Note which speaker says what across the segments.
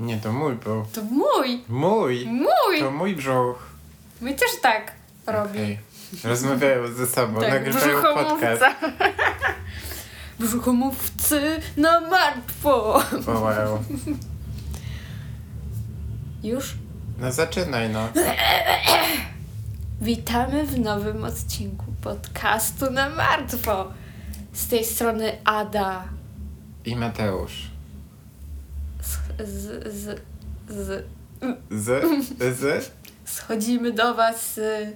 Speaker 1: Nie, to mój był.
Speaker 2: To mój!
Speaker 1: Mój!
Speaker 2: Mój!
Speaker 1: To mój brzuch.
Speaker 2: Mój też tak robi.
Speaker 1: Okej. Rozmawiają ze sobą,
Speaker 2: Tak,
Speaker 1: nagrywają podcast.
Speaker 2: brzuchomówca. Brzuchomówcy na martwo!
Speaker 1: O, wow.
Speaker 2: Już?
Speaker 1: No zaczynaj no.
Speaker 2: Witamy w nowym odcinku podcastu na martwo. Z tej strony Ada
Speaker 1: I Mateusz.
Speaker 2: z, z, z, z,
Speaker 1: Z? Z?
Speaker 2: schodzimy do Was y,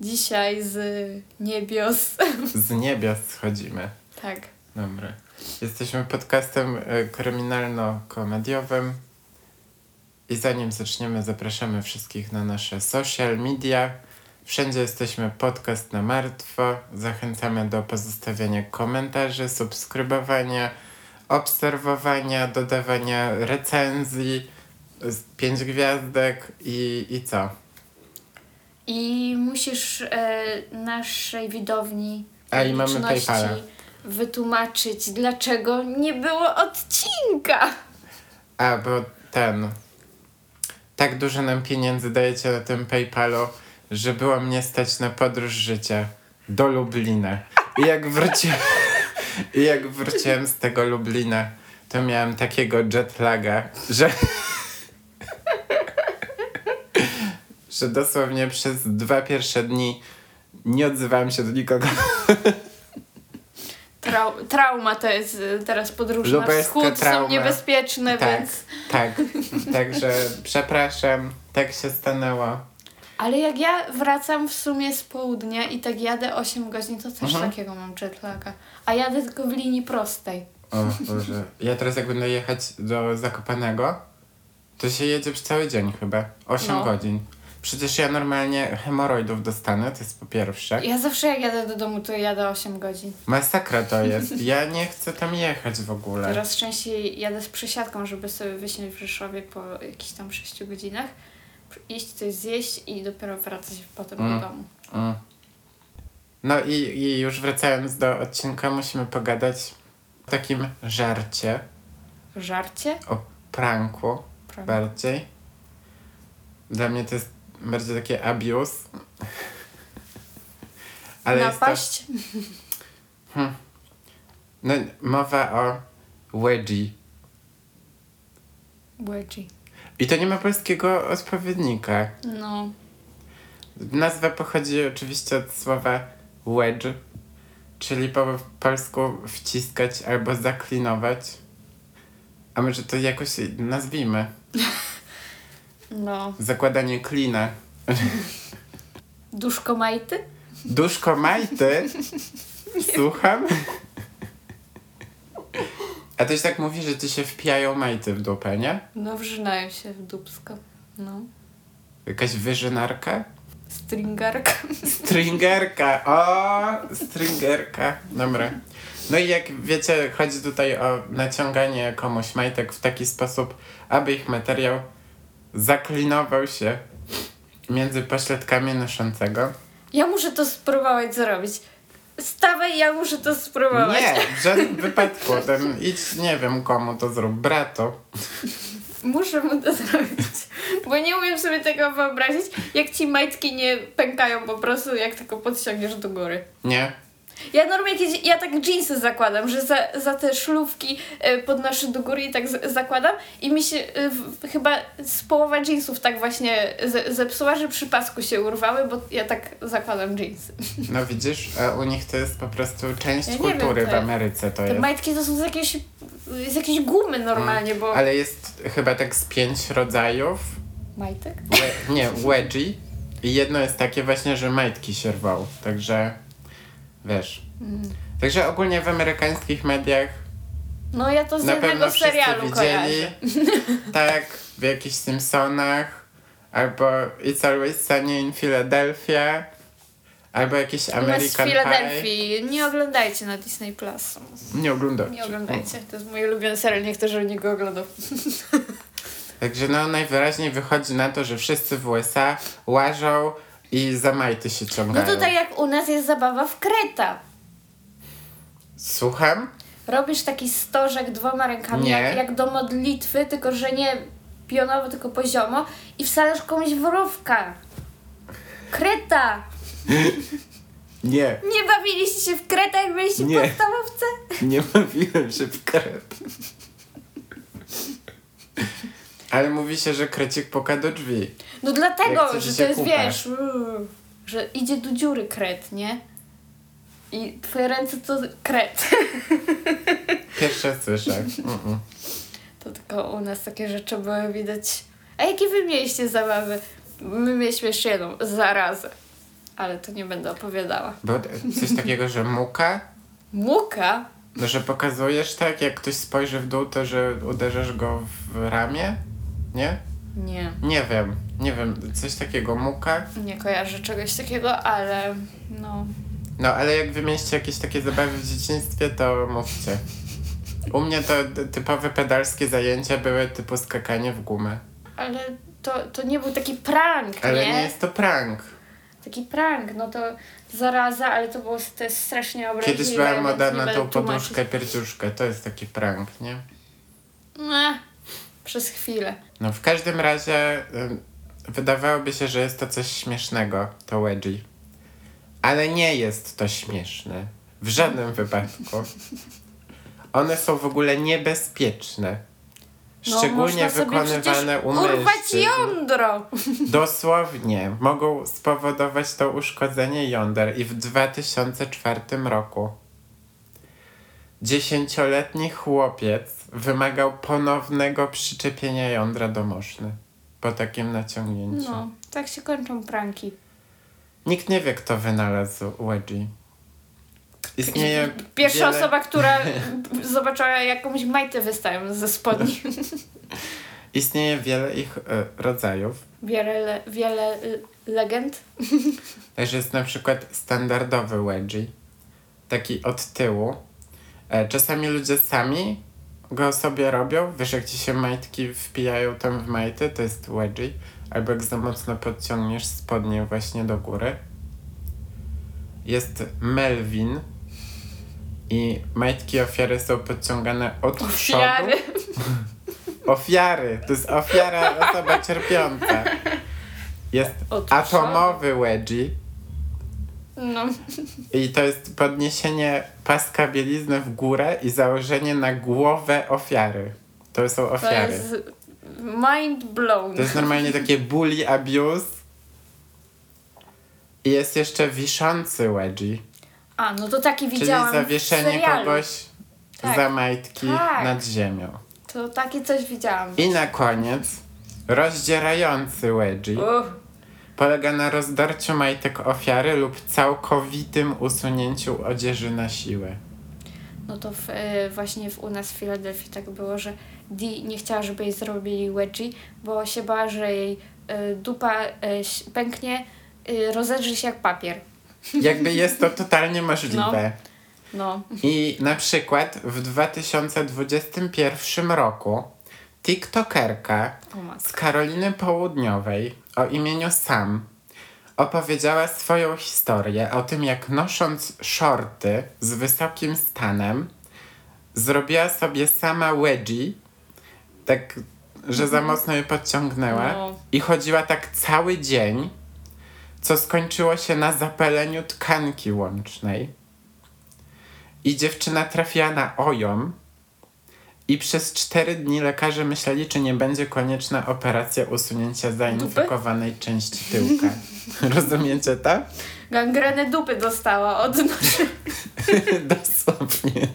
Speaker 2: dzisiaj z niebios.
Speaker 1: Z niebia schodzimy.
Speaker 2: tak,
Speaker 1: Dobra. Jesteśmy podcastem e, kryminalno-komediowym. I zanim zaczniemy, zapraszamy wszystkich na nasze social media. Wszędzie jesteśmy podcast na martwo. Zachęcamy do pozostawiania komentarzy, subskrybowania, obserwowania, dodawania recenzji, z pięć gwiazdek i, i co?
Speaker 2: I musisz e, naszej widowni
Speaker 1: A, i mamy
Speaker 2: publiczności
Speaker 1: PayPala.
Speaker 2: wytłumaczyć, dlaczego nie było odcinka.
Speaker 1: A, bo ten. Tak dużo nam pieniędzy dajecie na tym PayPalu, że było mnie stać na podróż życia do Lublina. I jak wróciłem, i jak wróciłem z tego Lublina, to miałem takiego jetlaga, że. że dosłownie przez dwa pierwsze dni nie odzywałem się do nikogo.
Speaker 2: Trau- trauma to jest y, teraz podróż na
Speaker 1: Lubelska
Speaker 2: wschód,
Speaker 1: trauma.
Speaker 2: są niebezpieczne,
Speaker 1: Tak,
Speaker 2: No więc...
Speaker 1: tak. Także przepraszam, tak się stanęło.
Speaker 2: Ale jak ja wracam w sumie z południa i tak jadę 8 godzin, to też
Speaker 1: Mhm.
Speaker 2: takiego mam jetlaga. A jadę tylko w linii prostej.
Speaker 1: O Boże. Ja teraz jak będę jechać do Zakopanego, to się jedzie przez cały dzień chyba. 8
Speaker 2: No.
Speaker 1: godzin. Przecież ja normalnie hemoroidów dostanę, to jest po pierwsze.
Speaker 2: Ja zawsze jak jadę do domu, to jadę 8 godzin.
Speaker 1: Masakra to jest. Ja nie chcę tam jechać w ogóle.
Speaker 2: Teraz częściej jadę z przesiadką, żeby sobie wysiąść w Rzeszowie po jakichś tam 6 godzinach, iść coś zjeść i dopiero wracać potem
Speaker 1: Mm.
Speaker 2: do domu.
Speaker 1: Mm. No i, i już wracając do odcinka, musimy pogadać o takim żarcie,
Speaker 2: Żarcie?
Speaker 1: o pranku
Speaker 2: Prank.
Speaker 1: bardziej. Dla mnie to jest bardziej takie abuse. Ale jest tak. to-
Speaker 2: Napaść?
Speaker 1: No, mowa o wedgie.
Speaker 2: Wedgie.
Speaker 1: I to nie ma polskiego odpowiednika.
Speaker 2: No.
Speaker 1: Nazwa pochodzi oczywiście od słowa wedge, czyli po polsku wciskać albo zaklinować. A może to jakoś nazwijmy.
Speaker 2: No.
Speaker 1: Zakładanie klina.
Speaker 2: Duszko majty?
Speaker 1: Duszko Majty? Słucham? A tyś tak mówi, że ci się wpijają majty w dupę, nie?
Speaker 2: No wrzynają się w dubsko. No.
Speaker 1: Jakaś wyżynarka?
Speaker 2: Stringarka.
Speaker 1: Stringerka, o, stringerka. Dobra. No i jak wiecie, chodzi tutaj o naciąganie komuś majtek w taki sposób, aby ich materiał zaklinował się między pośladkami noszącego.
Speaker 2: Ja muszę to spróbować zrobić. Stawaj, ja muszę to spróbować.
Speaker 1: Nie, w żadnym wypadku. Ten, idź, nie wiem komu to zrób, bratu.
Speaker 2: Muszę mu to zrobić, bo nie umiem sobie tego wyobrazić, jak ci majtki nie pękają po prostu, jak tylko podciągniesz do góry.
Speaker 1: Nie.
Speaker 2: Ja normalnie kiedyś, ja tak dżinsy zakładam, że za, za te szlówki e, podnoszę do góry i tak z, zakładam i mi się e, w, chyba z połowa dżinsów tak właśnie ze, zepsuła, że przy pasku się urwały, bo ja tak zakładam dżinsy.
Speaker 1: No widzisz, a u nich to jest po prostu część
Speaker 2: Ja nie wiem,
Speaker 1: kultury
Speaker 2: co
Speaker 1: w
Speaker 2: jest.
Speaker 1: Ameryce to
Speaker 2: Te
Speaker 1: jest.
Speaker 2: majtki to są z jakiejś, z jakiejś gumy normalnie, bo...
Speaker 1: Ale jest chyba tak z pięć rodzajów.
Speaker 2: Majtek?
Speaker 1: We, nie, wedgie. I jedno jest takie właśnie, że majtki się rwał. Także wiesz. Także ogólnie w amerykańskich mediach
Speaker 2: No ja to z
Speaker 1: na
Speaker 2: jednego
Speaker 1: pewno wszyscy
Speaker 2: serialu kojarzę.
Speaker 1: widzieli. tak, w jakichś Simpsonach. Albo It's Always Sunny in Philadelphia. Albo jakiś
Speaker 2: Nas w
Speaker 1: American Pie.
Speaker 2: Filadelfii. Nie oglądajcie na Disney Plus.
Speaker 1: Nie oglądajcie.
Speaker 2: Nie oglądajcie. Znaczy, no. To jest mój ulubiony serial, niektórzy od niego oglądają.
Speaker 1: Także no najwyraźniej wychodzi na to, że wszyscy w USA łażą i za majty się
Speaker 2: No
Speaker 1: ciągają.
Speaker 2: to tak jak u nas jest zabawa w kreta.
Speaker 1: Słucham?
Speaker 2: Robisz taki stożek dwoma rękami,
Speaker 1: Nie.
Speaker 2: jak, jak do modlitwy, tylko że nie pionowo, tylko poziomo i wsadzasz komuś worówka. Kreta!
Speaker 1: Nie,
Speaker 2: Nie bawiliście się w kretach, byliście
Speaker 1: Nie.
Speaker 2: w podstawowce?
Speaker 1: nie mówiłem, że w kret. Ale mówi się, że krecik puka do drzwi.
Speaker 2: No
Speaker 1: Jak
Speaker 2: dlatego,
Speaker 1: chcecie
Speaker 2: że
Speaker 1: się
Speaker 2: to jest,
Speaker 1: kupać.
Speaker 2: wiesz, uuu, że idzie do dziury kret, nie? I twoje ręce to kret.
Speaker 1: Pierwsze słyszę. Mm-mm.
Speaker 2: To tylko u nas takie rzeczy były widać. A jakie wy mieliście zabawy? My mieliśmy jeszcze jedną, zarazę. Ale to nie będę opowiadała.
Speaker 1: Bo coś takiego, że muka,
Speaker 2: Muka?
Speaker 1: no, że pokazujesz tak, jak ktoś spojrzy w dół, to że uderzasz go w ramię? Nie?
Speaker 2: Nie.
Speaker 1: Nie wiem, nie wiem, coś takiego muka.
Speaker 2: Nie kojarzę czegoś takiego, ale no.
Speaker 1: No ale jak wymieniście jakieś takie zabawy w dzieciństwie, to mówcie. U mnie to d- typowe pedalskie zajęcia były typu skakanie w gumę.
Speaker 2: Ale to, to nie był taki prank,
Speaker 1: Ale
Speaker 2: nie?
Speaker 1: nie, jest to prank.
Speaker 2: Taki prank, no to zaraza, ale to było to jest strasznie obraźliwe.
Speaker 1: Kiedyś była
Speaker 2: więc
Speaker 1: moda
Speaker 2: nie
Speaker 1: na
Speaker 2: będę
Speaker 1: tą
Speaker 2: tłumaczyć.
Speaker 1: poduszkę, pierdziuszkę. To jest taki prank, nie?
Speaker 2: Ech, przez chwilę.
Speaker 1: No w każdym razie ym, wydawałoby się, że jest to coś śmiesznego, to wedgie. Ale nie jest to śmieszne. W żadnym
Speaker 2: No.
Speaker 1: wypadku. One są w ogóle niebezpieczne.
Speaker 2: No,
Speaker 1: Szczególnie
Speaker 2: można sobie
Speaker 1: wykonywane
Speaker 2: przecież
Speaker 1: u
Speaker 2: Urwać
Speaker 1: mężczyzn.
Speaker 2: jądro!
Speaker 1: Dosłownie mogą spowodować to uszkodzenie jąder i w 2004 roku dziesięcioletni chłopiec wymagał ponownego przyczepienia jądra do moszny po takim naciągnięciu.
Speaker 2: No, tak się kończą pranki.
Speaker 1: Nikt nie wie, kto wynalazł wedgie. Istnieje
Speaker 2: Pierwsza
Speaker 1: wiele-
Speaker 2: osoba, która zobaczyła jakąś majtę wystają ze spodni.
Speaker 1: Istnieje wiele ich e, rodzajów.
Speaker 2: Wiele, le, wiele y, legend.
Speaker 1: Także jest na przykład standardowy wedgie, taki od tyłu. E, Czasami ludzie sami go sobie robią, wiesz jak ci się majtki wpijają tam w majty, to jest wedgie. Albo jak za mocno podciągniesz spodnie właśnie do góry. Jest Melvin i majtki ofiary są podciągane od
Speaker 2: Ofiary.
Speaker 1: przodu. Ofiary, to jest ofiara, osoba cierpiąca. Jest
Speaker 2: Od
Speaker 1: atomowy wedgie.
Speaker 2: No,
Speaker 1: I to jest podniesienie paska bielizny w górę i założenie na głowę ofiary. To są
Speaker 2: to
Speaker 1: ofiary. To jest,
Speaker 2: jest mind blown.
Speaker 1: normalnie takie bully abuse. I jest jeszcze wiszący wedgie,
Speaker 2: A, no to taki
Speaker 1: czyli
Speaker 2: widziałam w
Speaker 1: zawieszenie
Speaker 2: serialu.
Speaker 1: kogoś
Speaker 2: Tak.
Speaker 1: za majtki
Speaker 2: Tak.
Speaker 1: nad ziemią.
Speaker 2: To takie coś widziałam.
Speaker 1: I na koniec rozdzierający wedgie
Speaker 2: Uff,
Speaker 1: polega na rozdarciu majtek ofiary lub całkowitym usunięciu odzieży na siłę.
Speaker 2: no to w, y, właśnie w, u nas w Filadelfii tak było, że Dee nie chciała, żeby jej zrobili wedgie, bo się bała, że jej y, dupa y, ś- pęknie, y, rozedrze się jak papier.
Speaker 1: Jakby jest to totalnie możliwe.
Speaker 2: No.
Speaker 1: I na przykład w 2021 roku TikTokerka
Speaker 2: O matko.
Speaker 1: z Karoliny Południowej o imieniu Sam opowiedziała swoją historię o tym, jak nosząc shorty z wysokim stanem, zrobiła sobie sama wedgie, tak, że za mocno je podciągnęła
Speaker 2: Mhm. No.
Speaker 1: i chodziła tak cały dzień, co skończyło się na zapaleniu tkanki łącznej. I dziewczyna trafiła na ojom i przez cztery dni lekarze myśleli, czy nie będzie konieczna operacja usunięcia zainfekowanej części tyłka. Rozumiecie to?
Speaker 2: Gangrenę dupy dostała od noży.
Speaker 1: Dosłownie.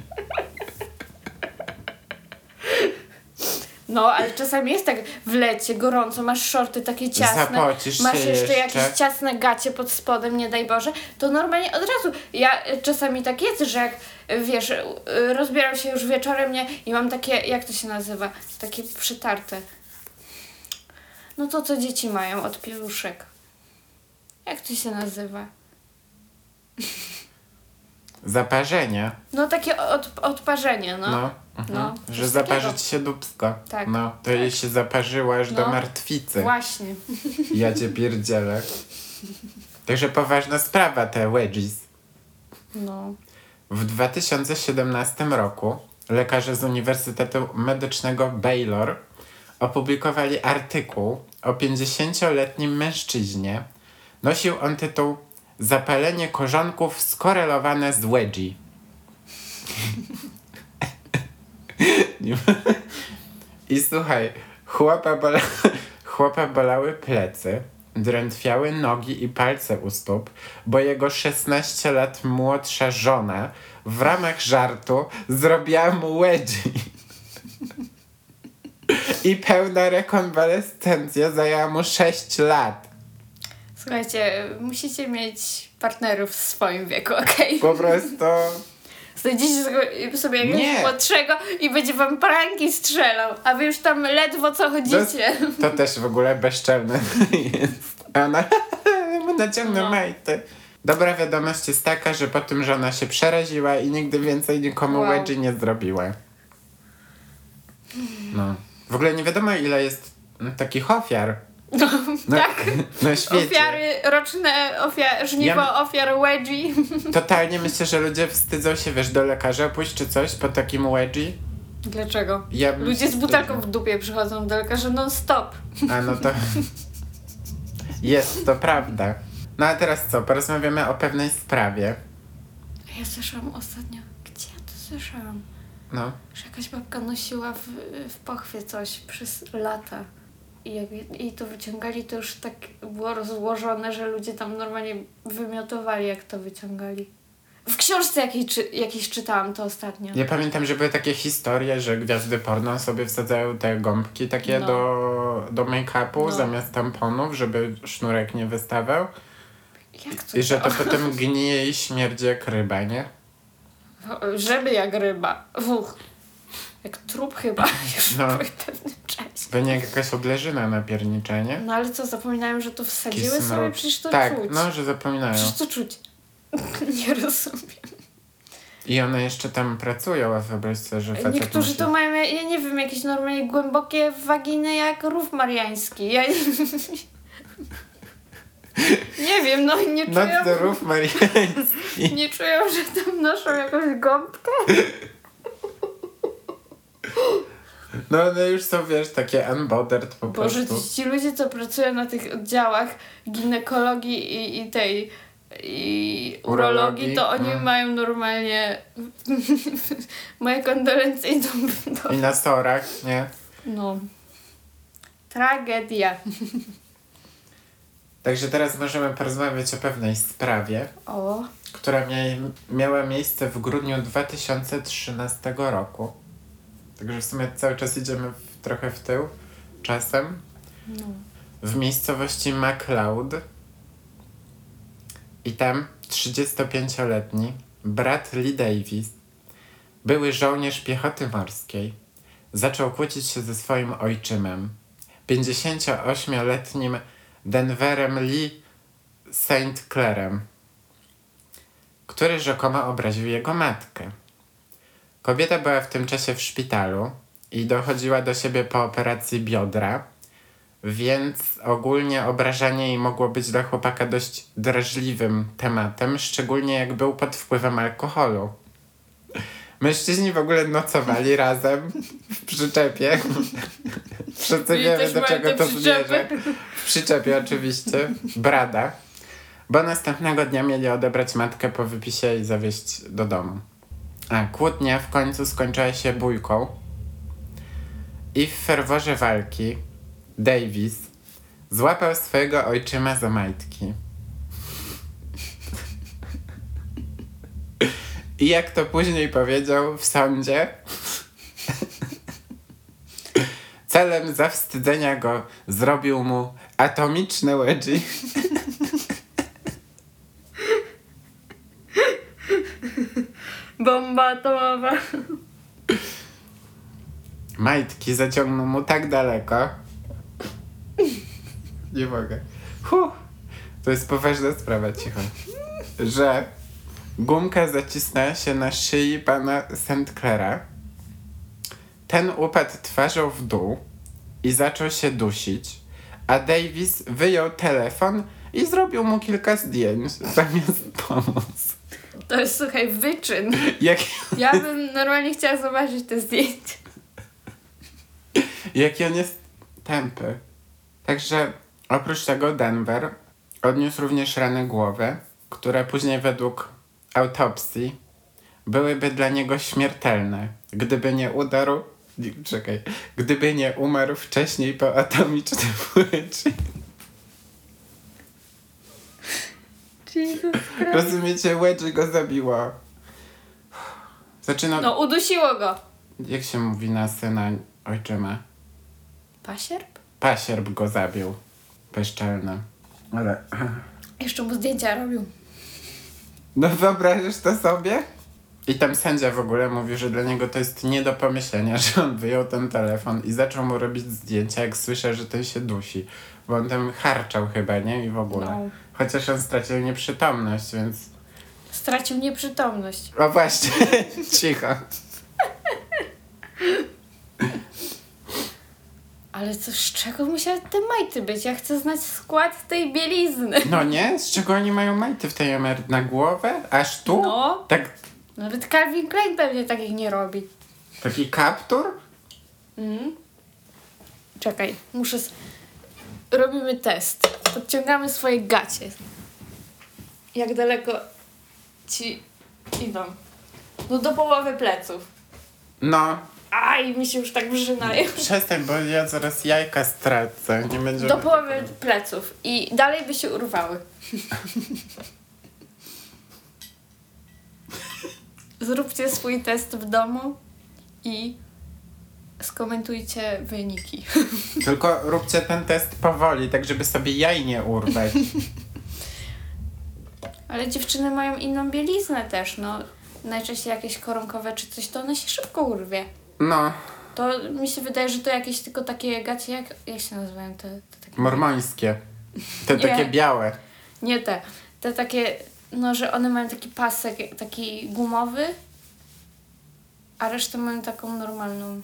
Speaker 2: No, ale czasami jest tak w lecie, gorąco, masz szorty takie ciasne,
Speaker 1: Zapocisz
Speaker 2: masz
Speaker 1: się
Speaker 2: jeszcze
Speaker 1: jeszcze.
Speaker 2: jakieś ciasne gacie pod spodem, nie daj Boże, to normalnie od razu, ja y, czasami tak jest, że jak, y, wiesz, y, y, rozbieram się już wieczorem, nie, i mam takie, jak to się nazywa, takie przytarte, no to co dzieci mają od pieluszek, jak to się nazywa?
Speaker 1: Zaparzenie.
Speaker 2: No takie od, odparzenie, no.
Speaker 1: No. Mhm.
Speaker 2: No,
Speaker 1: że
Speaker 2: coś
Speaker 1: zaparzy
Speaker 2: takiego.
Speaker 1: ci się dupsko.
Speaker 2: Tak.
Speaker 1: No, to jej się zaparzyło aż do
Speaker 2: No.
Speaker 1: martwicy.
Speaker 2: Właśnie.
Speaker 1: Ja cię pierdzielę. Także poważna sprawa te wedgies.
Speaker 2: No.
Speaker 1: W 2017 roku lekarze z Uniwersytetu Medycznego Baylor opublikowali artykuł o 50-letnim mężczyźnie. Nosił on tytuł Zapalenie korzonków skorelowane z wedgie. Nie ma- I słuchaj, chłopa, bola... chłopa bolały plecy, drętwiały nogi i palce u stóp, bo jego 16 lat młodsza żona w ramach żartu zrobiła mu łedzi. I pełna rekonwalescencja zajęła mu 6 lat.
Speaker 2: Słuchajcie, musicie mieć partnerów w swoim wieku, okej?
Speaker 1: Po prostu
Speaker 2: Znajdziecie sobie- sobie jakiegoś
Speaker 1: Nie.
Speaker 2: młodszego i będzie wam pranki strzelał, a wy już tam ledwo co chodzicie.
Speaker 1: to też w ogóle bezczelne jest. A Ona naciągnę
Speaker 2: No.
Speaker 1: majty. Dobra wiadomość jest taka, że po tym żona się przeraziła i nigdy więcej nikomu
Speaker 2: Wow.
Speaker 1: wedgie nie zrobiła. No. W ogóle nie wiadomo ile jest mm, takich ofiar
Speaker 2: No,
Speaker 1: na,
Speaker 2: tak.
Speaker 1: na świecie.
Speaker 2: Ofiary, roczne ofia- żniwo
Speaker 1: Ja-
Speaker 2: ofiar wedgie.
Speaker 1: Totalnie myślę, że ludzie wstydzą się, wiesz, do lekarza pójść czy coś po takim wedgie.
Speaker 2: Dlaczego?
Speaker 1: Ja bym
Speaker 2: Ludzie z
Speaker 1: się
Speaker 2: butelką w dupie przychodzą do lekarza non-stop.
Speaker 1: A no to. Jest, to prawda. No a teraz co? Porozmawiamy o pewnej sprawie.
Speaker 2: A Ja słyszałam ostatnio, gdzie ja to słyszałam?
Speaker 1: No.
Speaker 2: Że jakaś babka nosiła w, w pochwie coś przez lata. I jak jej to wyciągali, to już tak było rozłożone, że ludzie tam normalnie wymiotowali, jak to wyciągali. W książce jakiej, czy, jakiejś czytałam to ostatnio.
Speaker 1: Ja pamiętam, że były takie historie, że gwiazdy porno sobie wsadzały te gąbki takie
Speaker 2: No.
Speaker 1: do, do make-upu
Speaker 2: No.
Speaker 1: zamiast tamponów, żeby sznurek nie wystawał.
Speaker 2: Jak to
Speaker 1: I że to
Speaker 2: działa?
Speaker 1: potem gnije i śmierdzi jak ryba, nie?
Speaker 2: Żeby jak ryba. Wuch. Jak trup chyba już
Speaker 1: No.
Speaker 2: no. po pewnym czasie.
Speaker 1: Pewnie jak jakaś obleżyna na piernicze, nie?
Speaker 2: No ale co, zapominałem, że to
Speaker 1: Taki
Speaker 2: wsadziły sobie?
Speaker 1: smród.
Speaker 2: Przecież to
Speaker 1: Tak,
Speaker 2: czuć.
Speaker 1: no, że zapominają.
Speaker 2: Przecież to czuć. Nie rozumiem.
Speaker 1: I one jeszcze tam pracują, a wyobraź sobie, że facet
Speaker 2: Niektórzy
Speaker 1: musi...
Speaker 2: to mają, ja- ja nie wiem, jakieś normalnie głębokie waginy jak rów mariański. Ja nie, nie wiem, no nie
Speaker 1: Not the
Speaker 2: czują,
Speaker 1: roof, Maria.
Speaker 2: nie czują, że tam noszą jakąś gąbkę.
Speaker 1: No one już są, wiesz, takie unbothered po
Speaker 2: Boże,
Speaker 1: prostu.
Speaker 2: ci, ci ludzie, co pracują na tych oddziałach ginekologii i, i tej i urologii,
Speaker 1: Urologii,
Speaker 2: to oni
Speaker 1: mm.
Speaker 2: mają normalnie moje kondolencje idą do...
Speaker 1: I na sorach, nie?
Speaker 2: No. Tragedia.
Speaker 1: Także teraz możemy porozmawiać o pewnej sprawie,
Speaker 2: O.
Speaker 1: która mia- miała miejsce w grudniu 2013 roku. Także w sumie cały czas idziemy w, trochę w tył, czasem.
Speaker 2: No.
Speaker 1: W miejscowości MacLeod. I tam 35-letni brat Lee Davis, były żołnierz piechoty morskiej, zaczął kłócić się ze swoim ojczymem, 58-letnim Denverem Lee St. Clairem, który rzekomo obraził jego matkę. Kobieta była w tym czasie w szpitalu i dochodziła do siebie po operacji biodra, więc ogólnie obrażanie jej mogło być dla chłopaka dość drażliwym tematem, szczególnie jak był pod wpływem alkoholu. Mężczyźni w ogóle nocowali razem w przyczepie. Wszyscy
Speaker 2: Czyli
Speaker 1: wiemy,
Speaker 2: też
Speaker 1: do
Speaker 2: mają
Speaker 1: czego
Speaker 2: te
Speaker 1: to
Speaker 2: przyczepy.
Speaker 1: zmierza. W przyczepie oczywiście. Brada. Bo następnego dnia mieli odebrać matkę po wypisie i zawieźć do domu. A kłótnia w końcu skończyła się bójką. I w ferworze walki Davis złapał swojego ojczyma za majtki. I jak to później powiedział w sądzie, celem zawstydzenia go zrobił mu atomiczne wedgie.
Speaker 2: Bomba atomowa.
Speaker 1: Majtki zaciągnął mu tak daleko. Nie mogę. Huh. To jest poważna sprawa, cicho. Że gumka zacisnęła się na szyi pana St. Claira. Ten upadł twarzą w dół i zaczął się dusić, a Davis wyjął telefon i zrobił mu kilka zdjęć zamiast pomóc.
Speaker 2: To jest, słuchaj, wyczyn.
Speaker 1: Jak,
Speaker 2: Ja bym normalnie chciała zobaczyć te zdjęcia.
Speaker 1: jaki on jest tępy. Także oprócz tego Denver odniósł również rany głowy, które później według autopsji byłyby dla niego śmiertelne, gdyby nie udarł. nie, Czekaj, gdyby nie umarł wcześniej po atomicznym uleczy.
Speaker 2: Jesus Christ.
Speaker 1: Rozumiecie, łedzi go zabiło. Zaczyna.
Speaker 2: No, udusiło go.
Speaker 1: Jak się mówi na syna ojczyma?
Speaker 2: Pasierb?
Speaker 1: Pasierb go zabił. Bezczelny. Ale.
Speaker 2: Jeszcze mu zdjęcia robił.
Speaker 1: No wyobrażasz to sobie? I tam sędzia w ogóle mówi, że dla niego to jest nie do pomyślenia, że on wyjął ten telefon i zaczął mu robić zdjęcia, jak słyszę, że ten się dusi. Bo on tam harczał chyba, nie? I w ogóle.
Speaker 2: No.
Speaker 1: Chociaż on stracił nieprzytomność, więc...
Speaker 2: Stracił nieprzytomność.
Speaker 1: O właśnie, cicho.
Speaker 2: Ale co, z czego musiały te majty być? Ja chcę znać skład tej bielizny.
Speaker 1: No nie? Z czego oni mają majty w tej emeryt? Na głowę? Aż tu?
Speaker 2: No.
Speaker 1: Tak,
Speaker 2: Nawet Calvin Klein pewnie takich nie robi.
Speaker 1: taki kaptur?
Speaker 2: Mhm. Czekaj, muszę. S- Robimy test. Podciągamy swoje gacie. Jak daleko ci idą? No do połowy pleców.
Speaker 1: No,
Speaker 2: Aj, mi się już tak brzynają.
Speaker 1: przestań, bo ja zaraz jajka stracę. Nie będzie...
Speaker 2: Do połowy pleców. I dalej by się urwały. Zróbcie swój test w domu i skomentujcie wyniki.
Speaker 1: Tylko róbcie ten test powoli, tak żeby sobie jaj nie urwać.
Speaker 2: Ale dziewczyny mają inną bieliznę też, no. Najczęściej jakieś koronkowe czy coś, to one się szybko urwie.
Speaker 1: No,
Speaker 2: To mi się wydaje, że to jakieś tylko takie gacie, jak, jak się nazywają te, te takie...
Speaker 1: mormońskie. Te
Speaker 2: Nie.
Speaker 1: takie białe.
Speaker 2: Nie te, te takie, no, że one mają taki pasek, taki gumowy, a resztę mają taką normalną,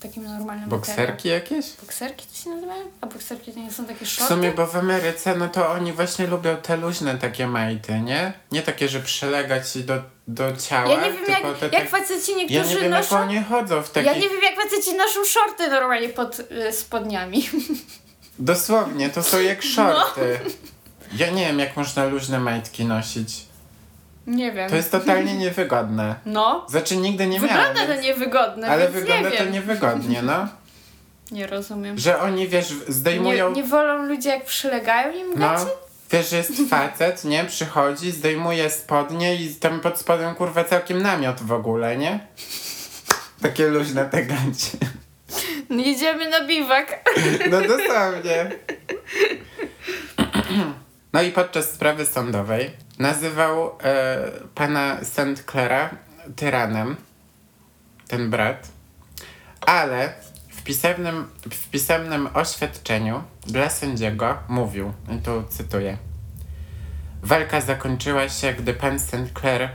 Speaker 2: takim normalnym... materiałem.
Speaker 1: Bokserki jakieś?
Speaker 2: Bokserki to się nazywają? A bokserki No to nie są takie
Speaker 1: W
Speaker 2: szorty?
Speaker 1: sumie, bo w Ameryce, no to oni właśnie lubią te luźne takie majty, nie? Nie takie, że przylega ci do, do ciała,
Speaker 2: Ja nie wiem,
Speaker 1: tylko te
Speaker 2: jak,
Speaker 1: tak-
Speaker 2: jak faceci
Speaker 1: Ja
Speaker 2: niektórzy
Speaker 1: nie wiem, jak
Speaker 2: noszą...
Speaker 1: oni chodzą w
Speaker 2: Ja
Speaker 1: takich...
Speaker 2: nie wiem, jak faceci noszą szorty normalnie pod y, spodniami.
Speaker 1: Dosłownie, to są
Speaker 2: No.
Speaker 1: jak szorty. Ja nie wiem, jak można luźne majtki nosić.
Speaker 2: Nie wiem.
Speaker 1: To jest totalnie niewygodne.
Speaker 2: No.
Speaker 1: Znaczy, nigdy nie miałem,
Speaker 2: wygląda
Speaker 1: więc-
Speaker 2: to niewygodne,
Speaker 1: ale
Speaker 2: więc
Speaker 1: wygląda
Speaker 2: nie
Speaker 1: to
Speaker 2: wiem.
Speaker 1: niewygodnie, no.
Speaker 2: Nie rozumiem.
Speaker 1: Że oni, wiesz, zdejmują...
Speaker 2: Nie, nie wolą ludzie, jak przylegają im gacie?
Speaker 1: No, wiesz, że jest facet, nie? Przychodzi, zdejmuje spodnie i tam pod spodem, kurwa, całkiem namiot w ogóle, nie? Takie luźne te gancie.
Speaker 2: No. Jedziemy na biwak.
Speaker 1: No dosłownie. No i podczas sprawy sądowej nazywał e, pana St. Clara tyranem, ten brat, ale w pisemnym, w pisemnym oświadczeniu dla sędziego mówił, i tu cytuję, walka zakończyła się, gdy pan St. Clair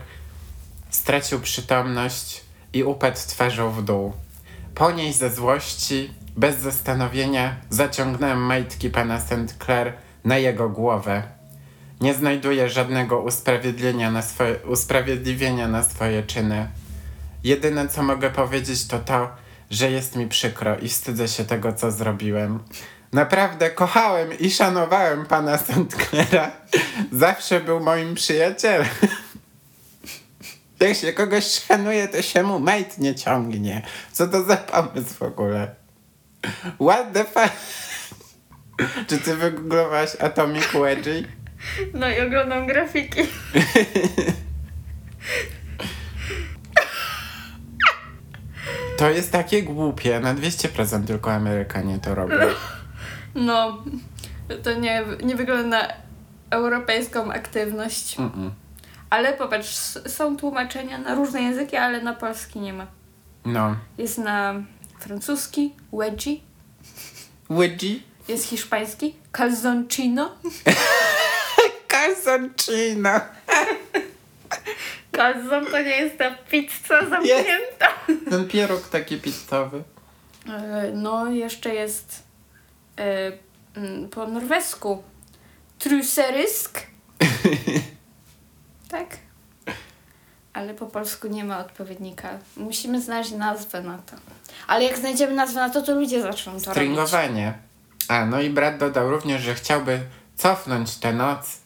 Speaker 1: stracił przytomność i upadł twarzą w dół. Po niej ze złości, bez zastanowienia, zaciągnąłem majtki pana St. Clair na jego głowę. Nie znajduję żadnego usprawiedliwienia na, swoje, usprawiedliwienia na swoje czyny. Jedyne, co mogę powiedzieć, to to, że jest mi przykro i wstydzę się tego, co zrobiłem. Naprawdę kochałem i szanowałem pana St. Claira. Zawsze był moim przyjacielem. Jak się kogoś szanuje, to się mu majt nie ciągnie. Co to za pomysł w ogóle? What the fuck? Czy ty wygooglowałaś Atomic Wedgie?
Speaker 2: No i oglądam grafiki.
Speaker 1: To jest takie głupie. Na 200% tylko Amerykanie to robią.
Speaker 2: No, to nie, nie wygląda na europejską aktywność.
Speaker 1: Mm-mm.
Speaker 2: Ale popatrz, s- są tłumaczenia na różne języki, ale na polski nie ma.
Speaker 1: No.
Speaker 2: Jest na francuski, wedgie,
Speaker 1: Wedgie?
Speaker 2: jest hiszpański, calzoncino,
Speaker 1: Calzoncino.
Speaker 2: Calzon to nie jest ta pizza
Speaker 1: zamknięta. Ten pieróg taki pizzowy.
Speaker 2: E, No, jeszcze jest e, mm, po norwesku truserysk. tak? Ale po polsku nie ma odpowiednika. Musimy znaleźć nazwę na to. Ale jak znajdziemy nazwę na to, to ludzie zaczną to robić.
Speaker 1: Stringowanie. A, no i brat dodał również, że chciałby cofnąć tę noc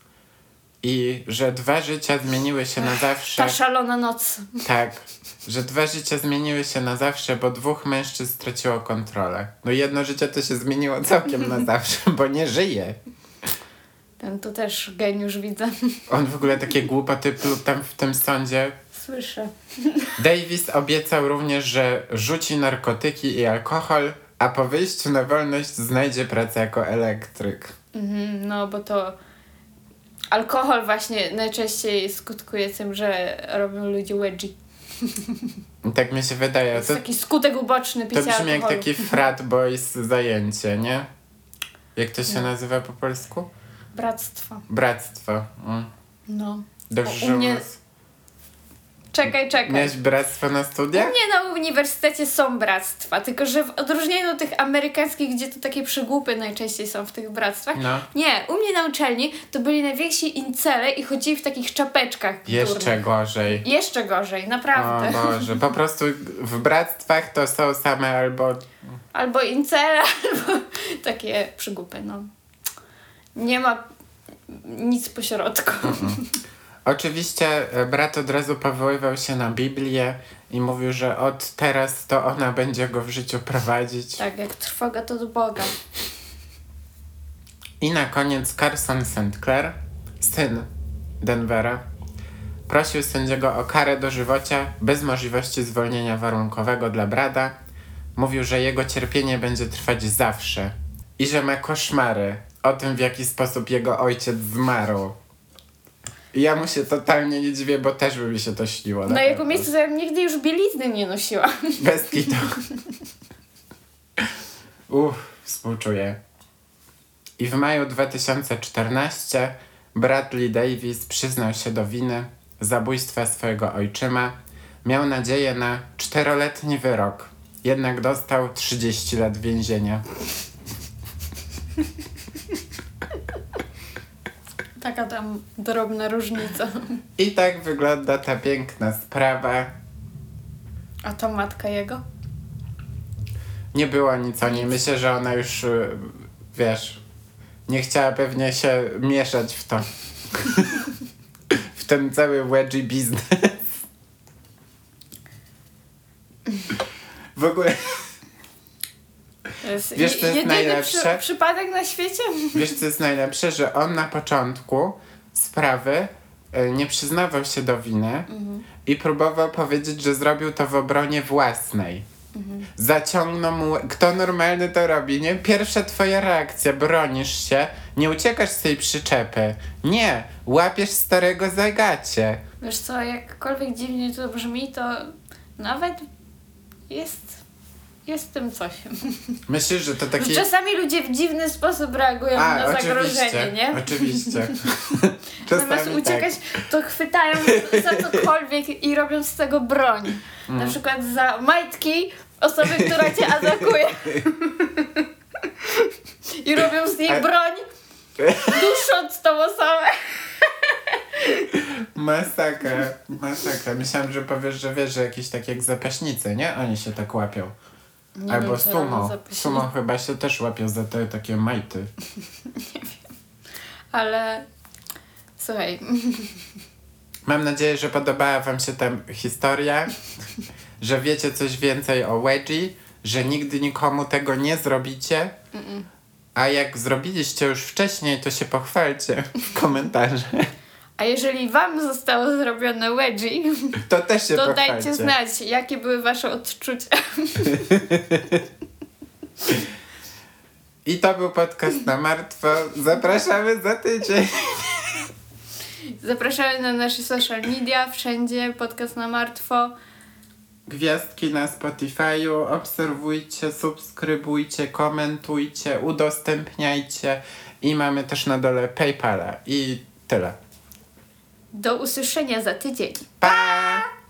Speaker 1: i że dwa życia zmieniły się na zawsze.
Speaker 2: Ta szalona noc.
Speaker 1: Tak, że dwa życia zmieniły się na zawsze, bo dwóch mężczyzn straciło kontrolę. No i jedno życie to się zmieniło całkiem na zawsze, bo nie żyje.
Speaker 2: Ten to też geniusz widzę.
Speaker 1: On w ogóle takie głupoty pluł tam w tym sądzie.
Speaker 2: Słyszę.
Speaker 1: Davis obiecał również, że rzuci narkotyki i alkohol, a po wyjściu na wolność znajdzie pracę jako elektryk.
Speaker 2: Mhm, no bo to alkohol właśnie najczęściej skutkuje tym, że robią ludzi wedgie.
Speaker 1: I Tak mi się wydaje.
Speaker 2: To
Speaker 1: To,
Speaker 2: jest taki skutek uboczny
Speaker 1: to
Speaker 2: picia
Speaker 1: brzmi jak
Speaker 2: alkoholu.
Speaker 1: taki frat boys zajęcie, nie? Jak to się nazywa po polsku?
Speaker 2: Bractwo.
Speaker 1: Bractwo. Mm.
Speaker 2: No.
Speaker 1: Dobrze,
Speaker 2: U
Speaker 1: że u
Speaker 2: mnie-
Speaker 1: nas-
Speaker 2: Czekaj, czekaj.
Speaker 1: Miałeś bractwo na studiach?
Speaker 2: Nie, na uniwersytecie są bractwa, tylko że w odróżnieniu do tych amerykańskich, gdzie to takie przygłupy najczęściej są w tych bractwach.
Speaker 1: No.
Speaker 2: Nie, u mnie na uczelni to byli najwięksi incele i chodzili w takich czapeczkach.
Speaker 1: Jeszcze no.
Speaker 2: durnych.
Speaker 1: gorzej.
Speaker 2: Jeszcze gorzej,
Speaker 1: O
Speaker 2: naprawdę.
Speaker 1: Boże, po prostu w bractwach to są same albo...
Speaker 2: Albo incele, albo takie przygłupy, no. Nie ma nic pośrodku.
Speaker 1: Mhm. Oczywiście e, brat od razu powoływał się na Biblię i mówił, że od teraz to ona będzie go w życiu prowadzić.
Speaker 2: Tak, jak trwoga to do Boga.
Speaker 1: Tak, I na koniec Carson St. Clair, syn Denvera, prosił sędziego o karę dożywocia bez możliwości zwolnienia warunkowego dla Brada. Mówił, że jego cierpienie będzie trwać zawsze i że ma koszmary o tym, w jaki sposób jego ojciec zmarł. I ja mu się totalnie nie dziwię, bo też by mi się to śniło.
Speaker 2: Na
Speaker 1: pewno.
Speaker 2: jego miejscu to ja bym nigdy już bielizny nie nosiła.
Speaker 1: Bez kitu. Uff, współczuję. I w maju 2014 Bradley Davis przyznał się do winy zabójstwa swojego ojczyma. Miał nadzieję na czteroletni wyrok, jednak dostał 30 lat więzienia.
Speaker 2: Taka tam drobna różnica.
Speaker 1: I tak wygląda ta piękna sprawa.
Speaker 2: A to matka jego?
Speaker 1: Nie było nic o niej. Myślę, że ona już, y, wiesz, nie chciała pewnie się mieszać w to. w ten cały wedgie biznes. W ogóle,
Speaker 2: To jest
Speaker 1: Wiesz, co jest
Speaker 2: jedyny
Speaker 1: najlepsze?
Speaker 2: przy, przypadek na świecie?
Speaker 1: wiesz co jest najlepsze? Że on na początku sprawy y, nie przyznawał się do winy i próbował powiedzieć, że zrobił to w obronie własnej. Zaciągnął mu. Kto normalny to robi, nie? Pierwsza twoja reakcja, bronisz się, nie uciekasz z tej przyczepy. Nie, łapiesz starego za gacie.
Speaker 2: Wiesz co, jakkolwiek dziwnie to brzmi, to nawet jest, jest w tym coś.
Speaker 1: Myślisz, że to taki.
Speaker 2: Że Czasami ludzie w dziwny sposób reagują
Speaker 1: A,
Speaker 2: na zagrożenie,
Speaker 1: oczywiście.
Speaker 2: nie?
Speaker 1: Oczywiście.
Speaker 2: Zamiast
Speaker 1: Czasami tak.
Speaker 2: uciekać, to chwytają za cokolwiek i robią z tego broń.
Speaker 1: Mm.
Speaker 2: Na przykład za majtki osoby, która cię atakuje. I robią z
Speaker 1: A-
Speaker 2: niej broń, dusząc tą osobę.
Speaker 1: Tak. Masakra, masakra. Myślałam, że powiesz, że wiesz, że jakieś tak jak zapaśnicy, nie? Oni się tak łapią.
Speaker 2: Nie
Speaker 1: Albo
Speaker 2: wiem, no, co robią
Speaker 1: sumo.
Speaker 2: zapaśnicy.
Speaker 1: Sumo chyba się też łapią za te takie majty.
Speaker 2: Ale słuchaj,
Speaker 1: Mam nadzieję, że podobała Wam się ta historia, że wiecie coś więcej o Wedgie, że nigdy nikomu tego nie zrobicie. A jak zrobiliście już wcześniej, to się pochwalcie w komentarzach.
Speaker 2: a jeżeli wam zostało zrobione wedgie,
Speaker 1: To też się
Speaker 2: to
Speaker 1: pochwalcie.
Speaker 2: dajcie znać, jakie były wasze odczucia.
Speaker 1: I to był podcast na martwo. Zapraszamy za tydzień.
Speaker 2: Zapraszamy na nasze social media, wszędzie, podcast na martwo.
Speaker 1: Gwiazdki na Spotify'u, obserwujcie, subskrybujcie, komentujcie, udostępniajcie. I mamy też na dole PayPala. I tyle.
Speaker 2: Do usłyszenia za tydzień.
Speaker 1: Pa!